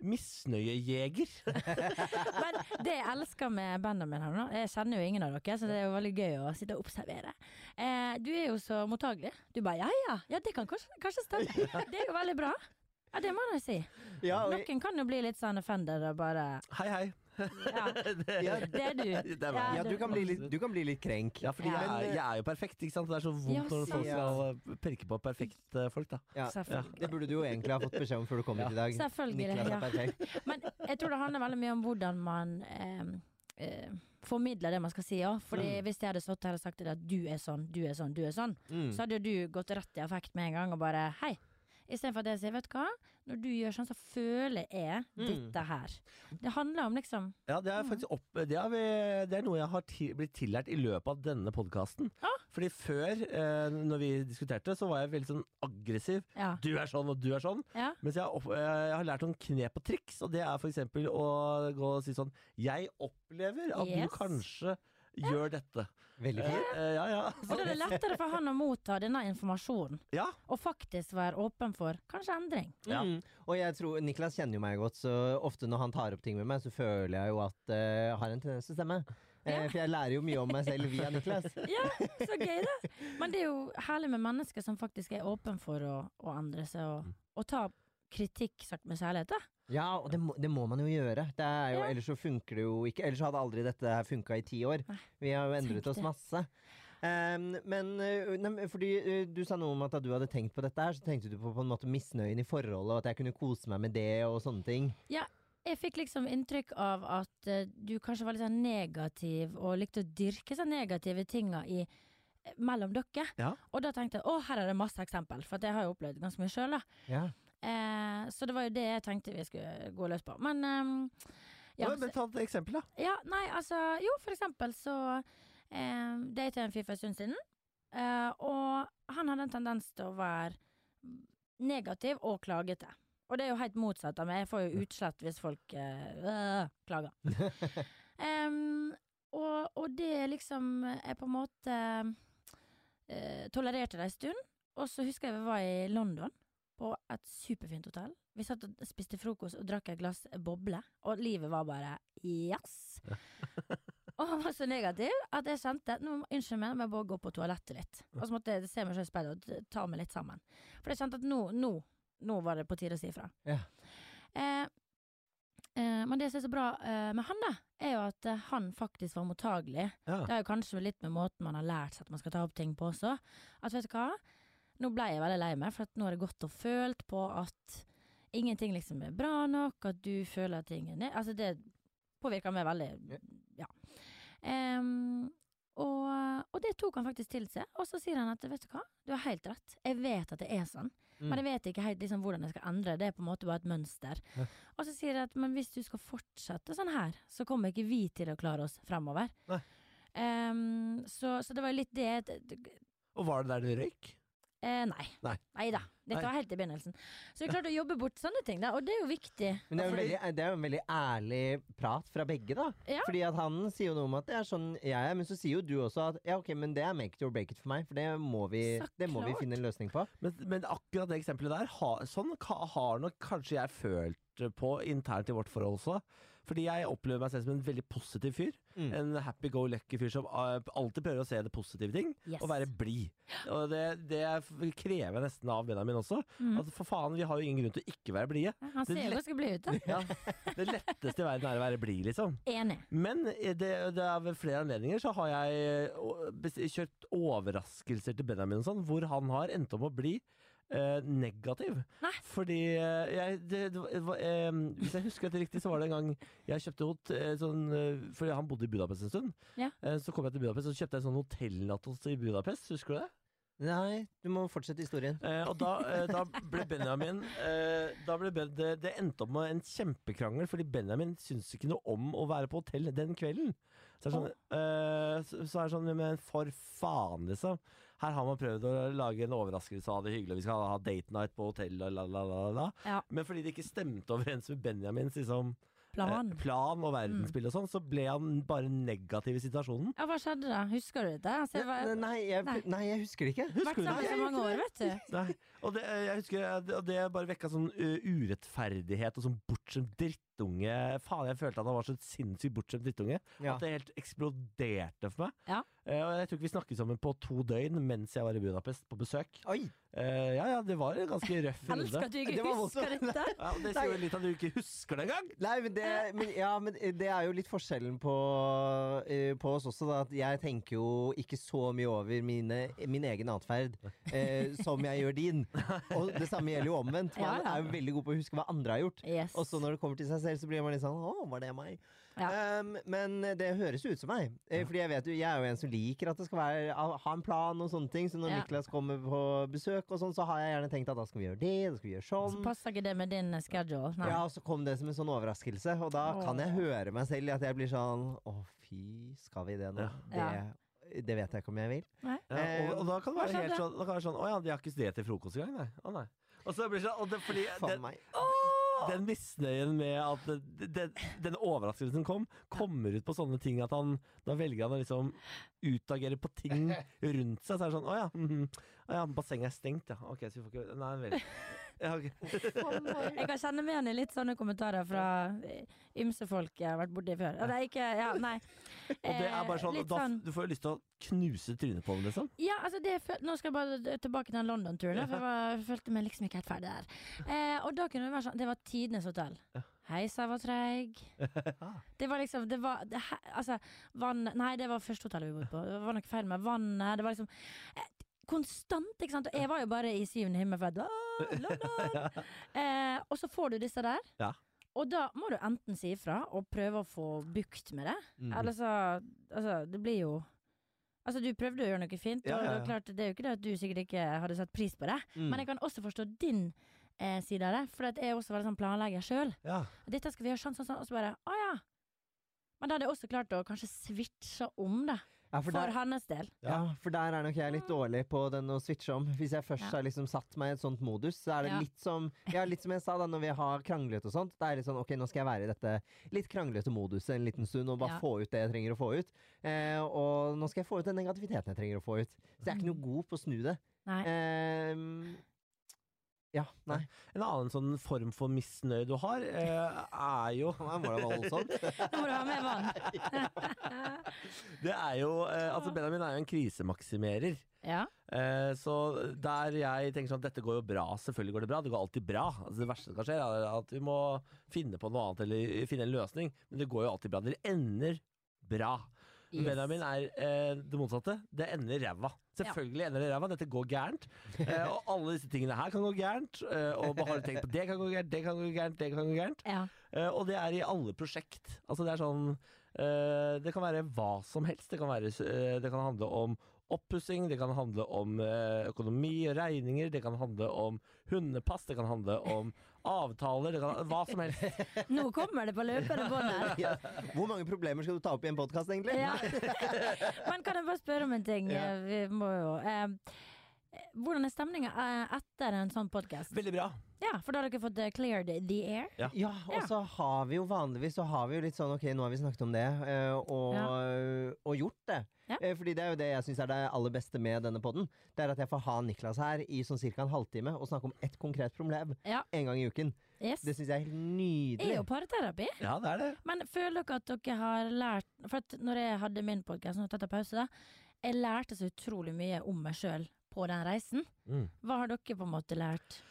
misnøyejeger. Men det jeg elsker med Benjamin her nå, jeg kjenner jo ingen av dere, så det er jo veldig gøy å sitte og observere. Eh, du er jo så mottagelig. Du bare ja ja, ja det kan kanskje, kanskje stemme. Det er jo veldig bra. Ja, det må jeg si. Ja, og- Noen kan jo bli litt sånn offended og bare Hei, hei. Ja, Det, Ja, det er du. det er meg. ja, du kan bli litt, Absolutt. du kan bli litt krenk. Ja, fordi Ja. Jeg, Men, er, eh, jeg er jo perfekt, ikke sant? Det er så vondt Ja, når folk sant. skal eh, pirke på perfekte folk, da. Ja. Selvfølgelig. Det burde du jo egentlig ha fått beskjed om før du kom hit i dag. Selvfølgelig, Niklas er ja. perfekt. Men jeg tror det handler veldig mye om hvordan man eh, eh, formidler det man skal si òg. Fordi hvis jeg hadde stått her og sagt til deg at du er sånn, du er sånn, du er sånn, Mm. så hadde jo du gått rett i affekt med en gang og bare hei. Istedenfor at jeg sier vet du hva, når du gjør sånn, så føler jeg Mm. dette her. Det handler om liksom Ja, det er faktisk opp... Det er, vi, det er noe jeg har ti, blitt tillært i løpet av denne podkasten. Ja. Fordi før, eh, når vi diskuterte, så var jeg veldig sånn aggressiv. Ja. Du er sånn, og du er sånn. ja. Mens jeg, har opp, eh, jeg har lært noen knep og triks, og det er f.eks. å gå og si sånn Jeg opplever at Yes. du kanskje gjør dette. Veldig fint. Eh, ja, ja. Og da er det lettere for han å motta denne informasjonen, ja. og faktisk være åpen for kanskje endring. Ja. Mm. Og jeg tror, Niklas kjenner jo meg godt, så ofte når han tar opp ting med meg, så føler jeg jo at eh, jeg har en tendens til å stemme. Eh, Ja. For jeg lærer jo mye om meg selv via Niklas. Ja, så gøy, da! Men det er jo herlig med mennesker som faktisk er åpen for å, å endre seg, og, og ta kritikk sagt med kjærlighet. da. Ja, og det må, det må man jo gjøre. Det er jo, Ja. Ellers så funker det jo ikke. Ellers hadde aldri dette her funka i ti år. Nei, Vi har jo endret tenk oss det. masse. Ehm, men eh, nei, men fordi eh, du sa noe om at da du hadde tenkt på dette her, så tenkte du på, på en måte misnøyen i forholdet, og at jeg kunne kose meg med det og sånne ting. Jeg fikk liksom inntrykk av at eh, du kanskje var litt sånn negativ, og likte å dyrke sånne negative tinga i eh, mellom dere. Ja. Og da tenkte jeg å, her er det masse eksempel, for at jeg har jo opplevd ganske mye sjøl. Ja. Eh, så det var jo det jeg tenkte vi skulle gå løs på. Men ehm, ja, Ja, men ta et eksempel, da. Ja, nei, altså Jo, for eksempel så eh, data jeg en fyr for en stund siden. Eh, og han hadde en tendens til å være negativ og klagete. Og det er jo helt motsatt av meg. Jeg får jo utslett hvis folk eh, øh, klager. Em, og, og det liksom Jeg på en måte eh, tolererte det en stund. Og så husker jeg vi var i London, på et superfint hotell. Vi satt og spiste frokost og drakk et glass boble, og livet var bare yes. Og han var så negativ at jeg kjente Nå må- Unnskyld meg, men jeg må gå på toalettet litt. Og så måtte jeg se meg selv i speilet og t- ta meg litt sammen. For jeg kjente at nå, nå, nå var det på tide å si ifra. Ja. Eh, eh, men det som er så bra eh, med han, da, er jo at eh, han faktisk var mottagelig. Ja. Det er jo kanskje litt med måten man har lært seg at man skal ta opp ting på også. At vet du hva, nå ble jeg veldig lei meg, for at nå har jeg gått og følt på at ingenting liksom er bra nok, at du føler at ting er ned Altså det påvirker meg veldig, ja. Em, og, og det tok han faktisk til seg, og så sier han at vet du hva, du har helt rett, jeg vet at det er sånn, Mm. men jeg vet ikke helt liksom, hvordan jeg skal endre det, det er på en måte bare et mønster. Ja. Og så sier jeg at men hvis du skal fortsette sånn her, så kommer ikke vi til å klare oss fremover. Nei. Em, så, så det var jo litt det Og var det der det røyk? Eh, nei. Nei. da. Dette Nei. var helt i begynnelsen. Så vi klarte å jobbe bort sånne ting, da, og det er jo viktig. Men det er, jo en Ja, fordi- veldig, det er jo en veldig ærlig prat fra begge, da. Ja. Fordi at han sier jo noe om at det er sånn jeg er, men så sier jo du også at ja, ok, men det er make it or break it for meg, for det må vi, Så det må vi klart. finne en løsning på. Men, men akkurat det eksempelet der, ha, sånn ka, har nok kanskje jeg følt på internt i vårt forhold også. Fordi jeg opplever meg selv som en veldig positiv fyr. Mm. En happy-go-lucky fyr som eh, alltid prøver å se det positive i ting, Yes. og være blid. Og det, det krever jeg nesten av Benjamin også. Mm. At for faen, vi har jo ingen grunn til å ikke være blide. Han det ser jo lett- ganske blid ut, da. Ja, det letteste i verden er å være blid, liksom. Enig. Men eh, det, det er ved flere anledninger så har jeg eh, å- bes- kjørt overraskelser til Benjamin og sånn, hvor han har endt opp å bli eh, negativ. Nei. Fordi eh, jeg det, det, var- det var, eh, Hvis jeg husker dette riktig, så var det en gang jeg kjøpte hot, eh, sånn eh, Fordi han bodde i Budapest en stund. Ja. Eh, så kom jeg til Budapest og kjøpte jeg en sånn hotellnatt hos- i Budapest. Husker du det? Nei, du må fortsette historien. Eh, og da, eh, da ble Benjamin eh, da ble ben, det, det endte opp med en kjempekrangel, fordi Benjamin syntes ikke noe om å være på hotell den kvelden. Så er det sånn, eh, så, så er det sånn men For faen, liksom. Her har man prøvd å lage en overraskelse og ha det hyggelig. Vi skal ha date night på hotell og la, la, la, la. la. Ja. Men fordi det ikke stemte overens med Benjamins liksom, Plan. Mm. eh, plan og verdensbilde og sånn, så ble han bare negativ i situasjonen. Ja, hva skjedde da? Husker du dette? Altså, jeg var, Nei, nei, jeg, Nei. nei, jeg husker det ikke. vært sammen i så mange år, vet du. Nei. Og det, eh, jeg husker eh, det- og det bare vekka sånn eh, urettferdighet og sånn bortskjemt drittunge. Faen, jeg følte at han var så sinnssykt bortskjemt drittunge. Ja. At det helt eksploderte for meg. Ja. Eh, og jeg tror ikke vi snakket sammen på to døgn mens jeg var i Budapest på besøk. Oi! Eh, ja, ja, det var en ganske røff Elsker runde. at du ikke Det var husker voldsomt. dette. Ja, og det sier jo litt at du ikke husker det engang! Nei, men det, men, ja, men eh, det er jo litt forskjellen på, eh, på oss også, da. At jeg tenker jo ikke så mye over mine, min egen atferd eh, som jeg gjør din. Og det samme gjelder jo omvendt. Ja, Man ja. er jo veldig god på å huske hva andre har gjort. Yes. Og så når det kommer til seg selv, så blir man litt sånn Å, var det meg? Um, men det høres jo ut som meg. Eh, Fordi jeg vet jo, jeg er jo en som liker at det skal være ha ha en plan og sånne ting. Så når Ja. Niklas kommer på besøk og sånn, så har jeg gjerne tenkt at da skal vi gjøre det, da skal vi gjøre Så sånn. passer ikke det med din eh, schedule. Nei. Ja, og så kom det som en sånn overraskelse, og da kan jeg Åh. høre meg selv i at jeg blir sånn Å, fy, skal vi det nå? Ja. Det, det vet jeg ikke om jeg vil. Nei. Ja, Eh, og, og da kan det Hva være helt skjedde? sånn, da kan det være sånn Å ja, de har ikke det til frokost engang, nei. Å nei. Og så blir det sånn, og det, fordi Faen det, meg. Åh, den misnøyen med at eh, den, den overraskelsen kom, kommer ut på sånne ting at han Da velger han å liksom utagere på ting rundt seg. Så er det sånn Å ja, mhm. Å ja bassenget er stengt, ja. Ok, så vi får ikke Nei vel. Ja, ok. Jeg kan kjenne med henne litt sånne kommentarer fra eh, ymse folk jeg har vært borti før. Ja, det er ikke, ja, nei. Og det er Eh, bare sånn, litt da, f- Du får jo lyst til å knuse trynet på ham, liksom. Ja, altså det jeg føl- Nå skal jeg bare d- tilbake til den London-turen, da, for jeg, var, jeg følte meg liksom ikke helt ferdig der. Eh, og da kunne det være sånn Det var tidenes hotell. Heisa var treig. Det var liksom det var, det, he, Altså, vann Nei, det var første hotellet vi bodde på. Det var noe feil med vannet. Det var liksom eh, Konstant, ikke sant. Og jeg var jo bare i syvende himmel for at «Åh, London! eh, og så får du disse der. Ja. Og da må du enten si ifra og prøve å få bukt med det. Mm. Eller så Altså, det blir jo Altså, du prøvde å gjøre noe fint, Ja, og ja, det er klart, det er jo ikke det at du sikkert ikke hadde satt pris på det. Mm. Men jeg kan også forstå din eh, side av det, for at jeg er også veldig sånn planlegger sjøl. Ja. Dette skal vi gjøre sånn, sånn, sånn, og så bare Å ja. Men da hadde jeg også klart å kanskje switche om det, Ja, for, for der, hennes del. ja, for der er nok jeg litt dårlig på den å switche om. Hvis jeg først Ja. har liksom satt meg i et sånt modus, så er det Ja. litt som Ja, litt som jeg sa da, når vi har kranglet og sånt. Det er litt sånn ok, nå skal jeg være i dette litt kranglete moduset en liten stund og bare Ja. få ut det jeg trenger å få ut. Eh, og nå skal jeg få ut den negativiteten jeg trenger å få ut. Så jeg er ikke noe god på å snu det. Mm. Nei. Eh, ja, nei. En annen sånn form for misnøye du har, eh, er jo Nei, var det voldsomt? Nå må du ha med vann. Det er jo eh, Altså, Benjamin er jo en krisemaksimerer. Ja. Eh, så der jeg tenker sånn at dette går jo bra, selvfølgelig går det bra. Det går alltid bra. Altså, det verste som kan skje, er at vi må finne på noe annet eller finne en løsning. Men det går jo alltid bra. Det ender bra. Men Yes. Benjamin er eh, det motsatte. Det ender ræva. Selvfølgelig ender det ræva. Dette går gærent. Eh, og alle disse tingene her kan gå gærent. Eh, og bare har du tenkt på det kan gå gærent, det kan gå gærent, det kan gå gærent. ja. Eh, og det er i alle prosjekt. Altså det er sånn eh, Det kan være hva som helst. Det kan, være, eh, det kan handle om oppussing, det kan handle om eh, økonomi og regninger, det kan handle om hundepass, det kan handle om avtaler, det kan, hva som helst. Nå kommer det på løpende bånd her. Ja. Hvor mange problemer skal du ta opp i en podkast, egentlig? Ja. Men kan jeg bare spørre om en ting? Ja. Eh, Vi må jo eh, Hvordan er stemninga etter en sånn podkast? Veldig bra. Ja, for da har dere fått eh, cleared the air. Ja, og Ja. så har vi jo vanligvis så har vi jo litt sånn ok, nå har vi snakket om det, eh, og, og gjort det. Ja. Eh, Fordi det er jo det jeg syns er det aller beste med denne podden. Det er at jeg får ha Niklas her i sånn ca. en halvtime og snakke om ett konkret problem Ja. en gang i uken. Yes. Det syns jeg er helt er nydelig. jo parterapi. Ja, det er det. Men føler dere at dere har lært For at når jeg hadde min podkast nå tatt jeg pause, da, jeg lærte så utrolig mye om meg sjøl på den reisen. Mm. Hva har dere på en måte lært?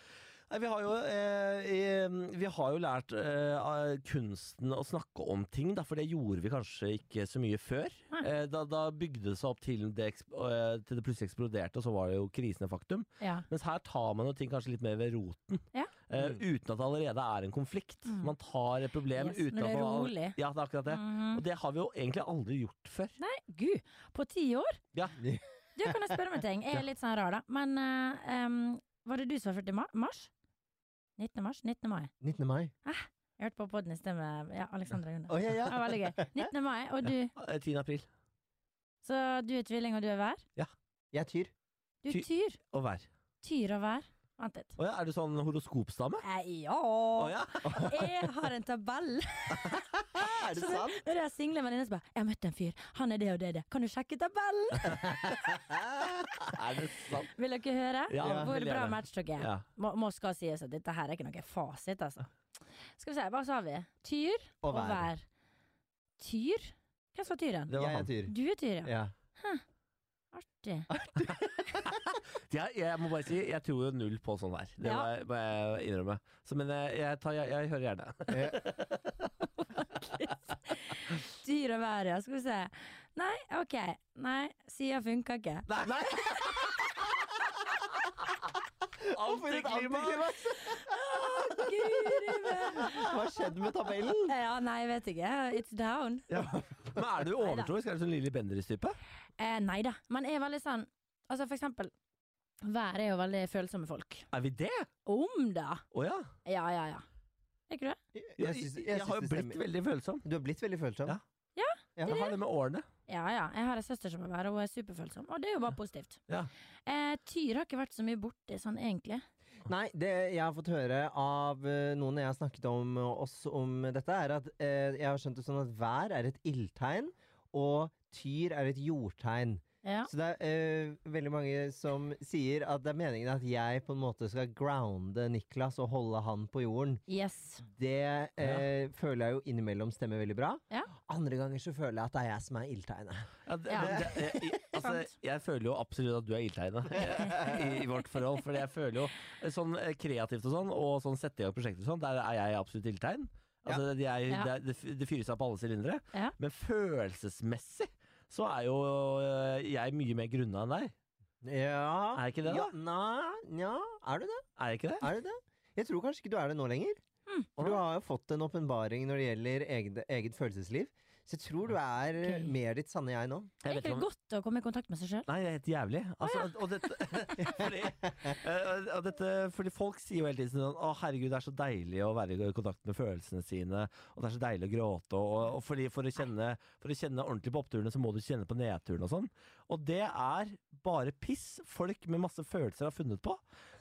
Nei, vi, har jo, eh, i, vi har jo lært eh, av kunsten å snakke om ting, da, for det gjorde vi kanskje ikke så mye før. Nei. Eh, da, da bygde det seg opp til det, eksp- eh, til det plutselig eksploderte, og så var det jo krisen et faktum. Ja. Mens her tar man jo ting kanskje litt mer ved roten, Ja. eh, Mm. uten at det allerede er en konflikt. Mm. Man tar et problem Yes, uten når at det er man all- rolig. Ja, det er akkurat det. Mhm. Og det har vi jo egentlig aldri gjort før. Nei, gud! På ti år? Ja. Du kan jeg spørre om en ting. Jeg er litt sånn rar, da. Men eh, em, var det du som var 40. ma- mars? 19. mars? 19. mai. 19. mai. Jeg hørte på podden i sted med ja, Alexandra Junde. Å, ja, ja. Det var veldig gøy. 19. mai, og du Eh, 10. april. Så du er tvilling, og du er hver? Jeg er tyr. Du er Ty- tyr. Og vær. Tyr og hver. Vent litt. Å ja, er du sånn horoskopstamme? Nei, ja. Å ja. Jeg har en tabell. Er det Så når- sant? Når jeg har single venninner, så bare 'Jeg møtte en fyr. Han er det og det og det. Kan du sjekke tabellen?' er det sant? Vil dere høre Ja, hvor vil bra gjerne. match dere er? Ja. Må, må skal sies at dette her er ikke noe fasit, altså. Skal vi se, hva sa vi? Tyr Og og vær. vær. Tyr? Hvem som var tyren? Det var Jeg han. er tyr. Du er tyr, ja. Ja. Artig. Ja, jeg må bare si, jeg tror jo null på sånn der. Det Ja. må jeg- må jeg innrømme. Så, men jeg, jeg, tar, jeg, jeg hører gjerne. Tyr og vær, ja. Skal vi se. Nei, OK. Nei, sida funka ikke. Nei! Nei. Antiklimaks! Antiklimaks! Guri meg. Hva skjedde med tabellen? Ja, nei, jeg vet ikke. It's down. Men er du overtroisk? Er du sånn Lilly Bendriss-type? Eh, nei da. Man er veldig sånn Altså, for eksempel. Vær er jo veldig følsomme folk. Er vi det? Om da! Å ja. Ja, ja, ja. Er ikke du det? Jeg, syns- jeg, syns har jo det blitt stemmer. veldig følsom. Du har blitt veldig følsom. Ja. Ja. Jeg har det med årene. Ja, ja. Jeg har en søster som er vær, og hun er superfølsom. Og det er jo bare positivt. Ja. Eh, tyr har ikke vært så mye borti sånn, egentlig. Nei, det jeg har fått høre av eh, noen jeg har snakket om eh, oss om dette, er at eh, jeg har skjønt det sånn at vær er et ildtegn, og tyr er et jordtegn. Ja. Så det er eh, veldig mange som sier at det er meningen at jeg på en måte skal grounde Niklas og holde han på jorden. Yes. Det eh, føler jeg jo innimellom stemmer veldig bra. Ja. Andre ganger så føler jeg at det er jeg som er ildtegnet. Ja, det, Ja. det- det- jeg, altså, Sant. jeg føler jo absolutt at du er ildtegnet i, i vårt forhold. For jeg føler jo eh, sånn eh, kreativt og sånn, og sånn sette i gang prosjekter og sånn, der er jeg absolutt ildtegn. Altså, det- jeg, Ja. det, er- det, f- det fyrer seg på alle sylindere. Ja. Men følelsesmessig så er jo eh, jeg mye mer grunna enn deg. Ja. Er jeg ikke det, da? Ja, nei, nja, er du det? Er jeg ikke det? Er du det? Jeg tror kanskje ikke du er det nå lenger. Hmm. For du har jo fått en åpenbaring når det gjelder eget, eget følelsesliv. Så jeg tror du er eh, Ok. mer ditt sanne jeg nå. Det er vet ikke ikke om- godt å komme i kontakt med seg sjøl. Nei, det er helt jævlig. Altså, og dette, fordi, eh, og dette, fordi folk sier jo hele tiden sånn Å, herregud, det er så deilig å være i kontakt med følelsene sine. Og det er så deilig å gråte. Og, og fordi for, å kjenne, for å kjenne ordentlig på oppturene, så må du kjenne på nedturene og sånn. Og det er bare piss folk med masse følelser har funnet på.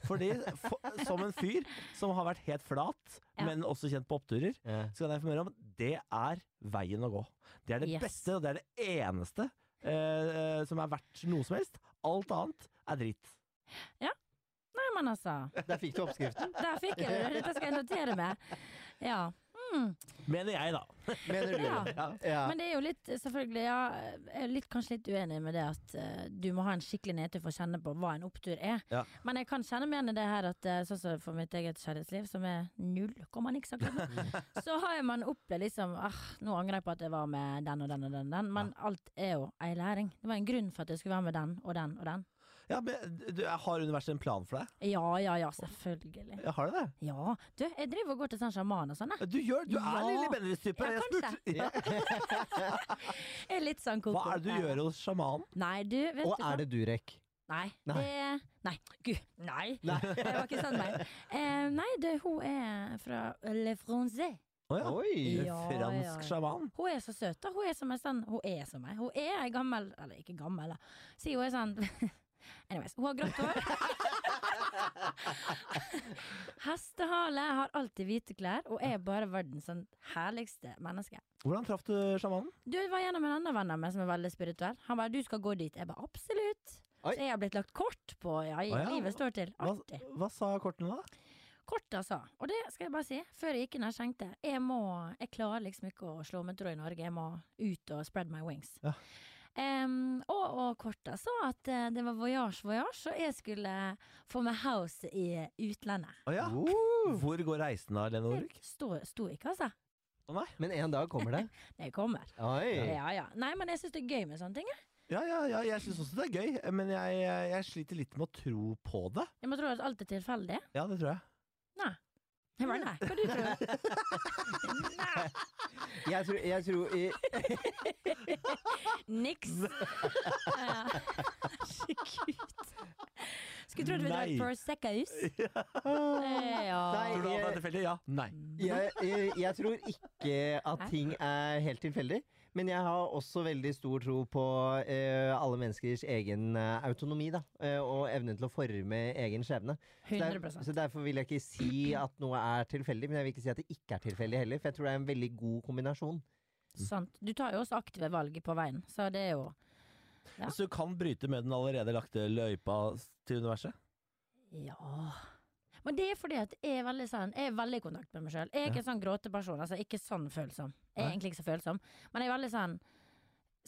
Fordi for, som en fyr som har vært helt flat, Ja. men også kjent på oppturer, så kan jeg informere om det er veien å gå. Det er det Yes. beste, og det er det eneste eh, eh, som er verdt noe som helst. Alt annet er dritt. Nei, men altså. Der fikk du oppskriften, Der fikk jeg det. Dette skal jeg notere meg. Ja. Mm. Mener jeg, da. mener du. Ja. Ja. Ja. Men det er jo litt, selvfølgelig, ja, jeg er litt, kanskje litt uenig med det at eh, du må ha en skikkelig nedtur for å kjenne på hva en opptur er. Ja. Men jeg kan kjenne meg igjen i det her at eh, sånn som for mitt eget kjærlighetsliv, som er null komma niks akkurat nå, så har man opplevd liksom ah, nå angrer jeg på at jeg var med den og den og den, og den men alt er jo ei læring. Det var en grunn for at jeg skulle være med den og den og den. Ja, men du, jeg Har universet en plan for deg? Ja, ja, ja, selvfølgelig. Jeg har det det? Ja. Du, jeg driver og går til sånn sjaman og sånn, jeg. Du, gjør, du er Ja. Lilly Bendriss-type. Ja, jeg kanskje. spurte. Ja. Jeg er litt sånn koko. Hva er det du gjør hos sjamanen? Nei, du, vet Og du hva? er det Durek? Nei. Nei. Det, nei. Gud, nei. Det var ikke sånn meg. Eh, nei, det, hun er fra Le Francais. Å ja. Oi! Ja, ja, ja. Fransk sjaman. Hun er så søt, da. Hun er som en sånn Hun er som meg. Hun er ei gammel Eller ikke gammel, da. Si hun er sånn Anyways. Hun har grått hår. Hestehale, har alltid hvite klær og er bare verdens sånn herligste menneske. Hvordan traff du sjamanen? Du jeg var gjennom en annen venn av meg som er veldig spirituell. Han bare 'du skal gå dit'. Jeg bare 'absolutt'. Oi. Så jeg har blitt lagt kort på. Ja, Å ja. livet står til. Hva, Artig. hva sa kortene, da? Kort altså, og det skal jeg bare si, før jeg gikk inn her tenkte jeg, jeg må, jeg klarer liksom ikke å slå meg tråd i Norge, jeg må ut og spread my wings. Ja. Em, og, og korta sa at eh, det var voyage, voyage, og jeg skulle få meg house i utlandet. Å ja. Hvor går reisen da, Lene Det Norvik? sto, sto ikke, altså. Men en dag kommer det. Det kommer. Oi! Ja, ja. Nei, men jeg syns det er gøy med sånne ting. jeg. Ja, ja, ja, jeg syns også det er gøy, men jeg, jeg sliter litt med å tro på det. Jeg må tro at alt er tilfeldig. Ja, det tror jeg. Jeg bare, Nei, hva du tror Nei, Jeg tror, jeg tror i- niks. Ja. Herregud. Skulle trodd vi Nei. drakk Prosecco's. Åh. Eh, Ja. Tror du alt er tilfeldig? Ja. Nei. jeg, jeg, jeg tror ikke at Hæ? ting er helt tilfeldig. Men jeg har også veldig stor tro på eh, alle menneskers egen eh, autonomi, da. eh, og evnen til å forme egen skjebne. Så, der, 100 så derfor vil jeg ikke si at noe er tilfeldig, men jeg vil ikke si at det ikke er tilfeldig heller. For jeg tror det er en veldig god kombinasjon. Sant. Du tar jo også aktive valg på veien, så det er jo Ja. Så du kan bryte med den allerede lagte løypa s- til universet? Ja. Men det er fordi at jeg er veldig sånn Jeg er veldig i kontakt med meg sjøl. Jeg er ikke en sånn gråteperson, altså ikke sånn følsom. Jeg er Nei. egentlig ikke så følsom, men jeg er veldig sånn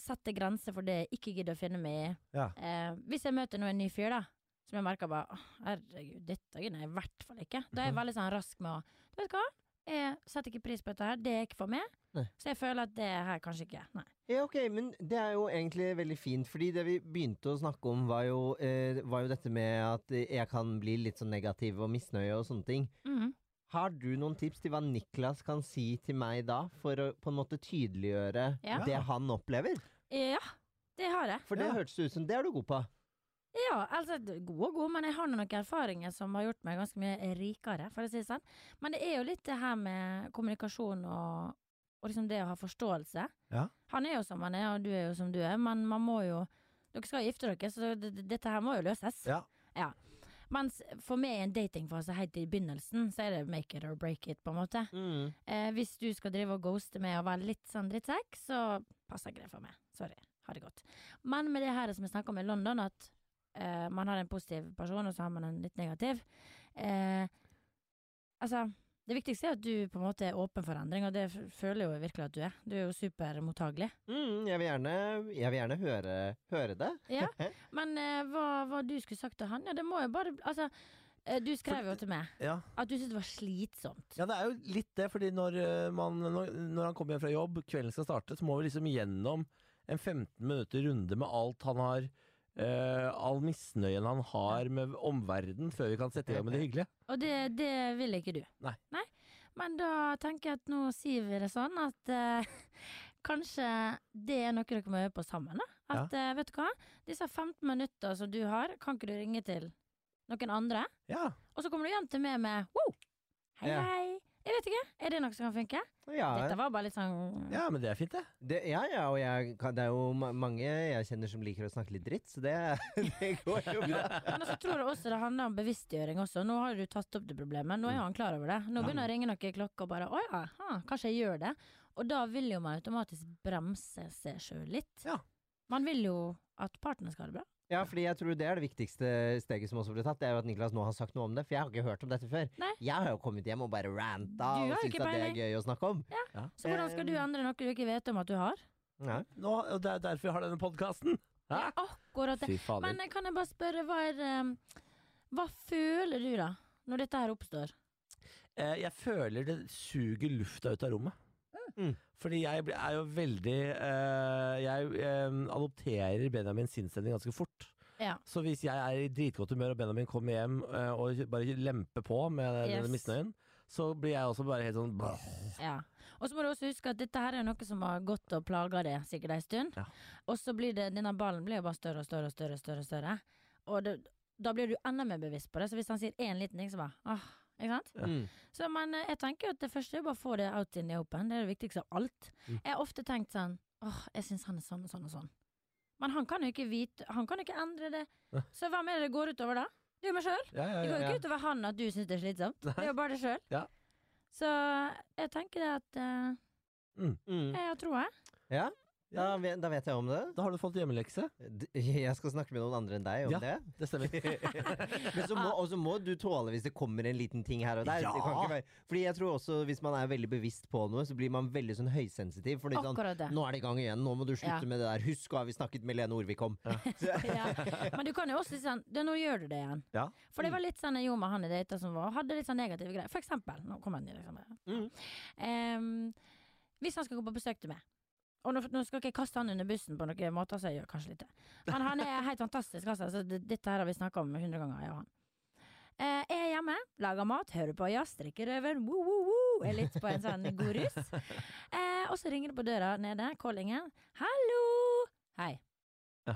Setter grenser for det jeg ikke gidder å finne meg i. Ja. Eh, hvis jeg møter nå en ny fyr, da, som jeg merker bare «Åh, Herregud, dette gidder jeg i hvert fall ikke. Da er Mhm. jeg veldig sånn rask med å Du vet hva, jeg setter ikke pris på dette her, det er ikke for meg. Nei. Så jeg føler at det her kanskje ikke Nei. Ja, ok, men det er jo egentlig veldig fint, fordi det vi begynte å snakke om var jo, eh, var jo dette med at eh, jeg kan bli litt sånn negativ og misnøye og sånne ting. Mhm. Har du noen tips til hva Niklas kan si til meg da, for å på en måte tydeliggjøre Ja. det han opplever? Ja, det har jeg. For det Ja. hørtes ut som det er du god på. Ja, altså d- god og god, men jeg har nå noen erfaringer som har gjort meg ganske mye rikere, for å si det sånn. Men det er jo litt det her med kommunikasjon og, og liksom det å ha forståelse. Ja. Han er jo som han er, og du er jo som du er, men man må jo Dere skal jo gifte dere, så d- d- dette her må jo løses. Ja. Mens for meg i en datingfase helt i begynnelsen, så er det make it or break it, på en måte. Mm. Eh, hvis du skal drive og ghoste meg og være litt sånn drittsekk, så passer ikke det for meg. Sorry. Ha det godt. Men med det her som jeg snakka om i London, at eh, man har en positiv person, og så har man en litt negativ. Eh, altså, det viktigste er at du på en måte er åpen for endring, og det f- føler jeg jo virkelig at du er. Du er jo supermottagelig. Mm, jeg vil gjerne, jeg vil gjerne høre, høre det. Ja. Men eh, hva, hva du skulle sagt til han, ja, det må jo bare Altså, eh, du skrev jo til meg Ja. at du syntes det var slitsomt. Ja, det er jo litt det, fordi når, eh, man, når, når han kommer hjem fra jobb, kvelden skal starte, så må vi liksom gjennom en 15 minutter runde med alt han har eh, All misnøyen han har med omverdenen, før vi kan sette i gang med det hyggelige. Og det, det vil ikke du. Nei. Men da tenker jeg at nå sier vi det sånn at eh, kanskje det er noe dere må øve på sammen. da. At eh, vet du hva, disse 15 minutter som du har, kan ikke du ringe til noen andre? Ja. Og så kommer du hjem til meg med wow, hei, Ja. hei. Jeg vet ikke, er det noe som kan funke? Ja, Dette var bare litt sånn ja, men det er fint, det. det, ja, ja og jeg, kan- det er jo ma- mange jeg kjenner som liker å snakke litt dritt, så det, det går jo bra. Men så tror jeg også det handler om bevisstgjøring også. Nå har du tatt opp det problemet, nå er Mm. han klar over det. Nå begynner det å ringe noen klokker og bare å ja, ha, kanskje jeg gjør det. Og da vil jo man automatisk bremse seg sjøl litt. Ja. Man vil jo at partneren skal ha det bra. Ja, fordi jeg tror det er det viktigste steget som også ble tatt. Det er jo at Niklas nå har sagt noe om det, for jeg har ikke hørt om dette før. Nei. Jeg har jo kommet hjem og bare ranta og Du har jo syntes ikke at det er peiling. gøy å snakke om. Så hvordan skal du Eh, endre noe du ikke vet om at du har? Ja. Nå, og det er derfor vi har denne podkasten. Ja, akkurat det. Fy fader. Men eh, kan jeg bare spørre, hva er eh, Hva føler du da, når dette her oppstår? Eh, jeg føler det suger lufta ut av rommet. Mm. Fordi jeg blir- er jo veldig eh, Jeg eh, adopterer Benjamins sinnsstemning ganske fort. Ja. Så hvis jeg er i dritgodt humør og Benjamin kommer hjem eh, og bare lemper på med Yes. denne misnøyen, så blir jeg også bare helt sånn blah. Ja. Og så må du også huske at dette her er noe som har gått og plaga deg sikkert en stund. Ja. Og så blir det, denne ballen blir jo bare større og større og større. Og større, og større. Og det, da blir du enda mer bevisst på det. Så hvis han sier én liten ting, så bare ah, ikke sant? Ja. Mm. Så men eh, jeg tenker jo at det første er bare å få det out in the open. Det er det viktigste av alt. Mm. Jeg har ofte tenkt sånn åh, jeg syns han er sånn og sånn og sånn. Men han kan jo ikke vite Han kan jo ikke endre det. Nei. Så hvem er det det går utover da? Du meg sjøl. Ja, ja, Det ja, går jo ja. ikke utover han at du syns det er slitsomt. Det er jo bare det sjøl. Ja. Så jeg tenker det at eh, Mm. jeg har troa. ja. Da, ve- da vet jeg om det. Da har du fått hjemmelekse. D- Jeg skal snakke med noen andre enn deg om Ja. det. Det stemmer. Men så må, og så må du tåle hvis det kommer en liten ting her og der. Det kan Ja. ikke være, fordi jeg tror også hvis man er veldig bevisst på noe, så blir man veldig sånn høysensitiv. Fordi sånn, Akkurat det. nå er det i gang igjen, nå må du slutte Ja. med det der. Husk hva vi snakket med Lene Orvik om. ja. Men du kan jo også si sånn «Du, Nå gjør du det igjen. Ja. For det var litt sånn jeg gjorde med han jeg data som var, hadde litt sånn negative greier. For eksempel. Nå kom han i liksom. Mm. Em, hvis han skal gå på besøk til meg og nå, nå skal ikke jeg kaste han under bussen på noen måter, så jeg gjør kanskje litt det. Men han er helt fantastisk, altså. Så det, dette her har vi snakka om hundre ganger, jeg og han. Eh, jeg er hjemme, lager mat, hører på jazz, drikker røven, woo, woo, woo. Er litt på en sånn god rus. Eh, og så ringer det på døra nede, callingen. Hallo! Hei. Ja.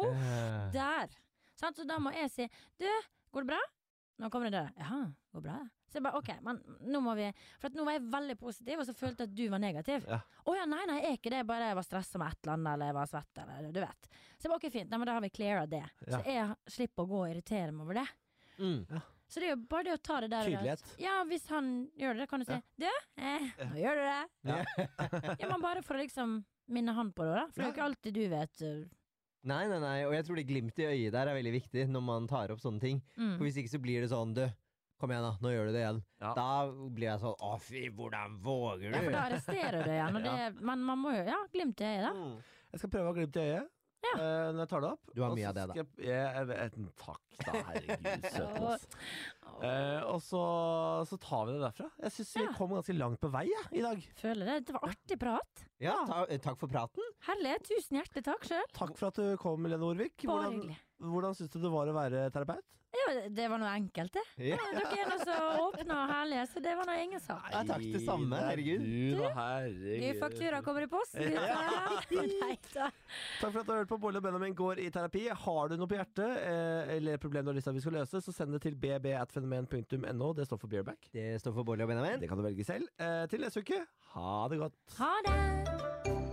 Å, Eh. der! Sant? Så da må jeg si Du, går det bra? Nå kommer det døra. Jaha, går det bra? Så jeg bare OK, men nå må vi For at nå var jeg veldig positiv, og så følte jeg at du var negativ. Å Ja. ja. nei, nei, jeg er ikke det. Jeg Bare jeg var stressa med et eller annet, eller jeg var svett, eller du vet. Så jeg bare OK, fint. Nei, men da har vi cleara det. Ja. Så jeg slipper å gå og irritere meg over det. Mm. Så det er jo bare det å ta det der. og da- Tydelighet. Ja, hvis han gjør det, kan du si Du, eh, nå gjør du det. Ja. ja, men bare for å liksom minne han på det, da. For det er jo ikke alltid du vet. uh, Nei, nei, nei, og jeg tror det glimt i øyet der er veldig viktig når man tar opp sånne ting. Mm. For hvis ikke så blir det sånn, du, kom igjen da, nå gjør du det igjen. Ja. Da blir jeg sånn, å fy, hvordan våger Ja, for du? da arresterer du igjen. Og det, Men man må jo Ja, glimt i øyet, da. Mm. Jeg skal prøve å ha glimt i øyet eh, når jeg tar det opp. Du har Og mye så av det, da. skal Jeg, jeg, jeg, takk, da. Herregud, søten. ass. Åh, Eh, og så, så tar vi det derfra. Jeg syns vi Ja. kom ganske langt på vei jeg, i dag. Føler det. Det var artig prat. Ja, ta, eh, takk for praten. Herlig. Tusen hjertelig takk sjøl. Takk for at du kom, Lene Orvik. Bare Hvordan, hyggelig. hvordan syns du det var å være terapeut? Ja, det var noe enkelt, det. Ja. Ja, Dere er nå så åpne og herlige, så det var nå ingen sak. Ja, takk, det samme, Nei, herregud. Du, da, Ny herregud. faktura kommer i posten, gutter. Nei da. Takk for at du har hørt på Bolle og Benjamin går i terapi. Har du noe på hjertet eh, eller et problem du har lyst til at vi skal løse, så send det til bb.fenomen.no. Det står for Beerback. Det står for Bolle og Benjamin. Det kan du velge selv. Eh, til neste uke, ha det godt. Ha det.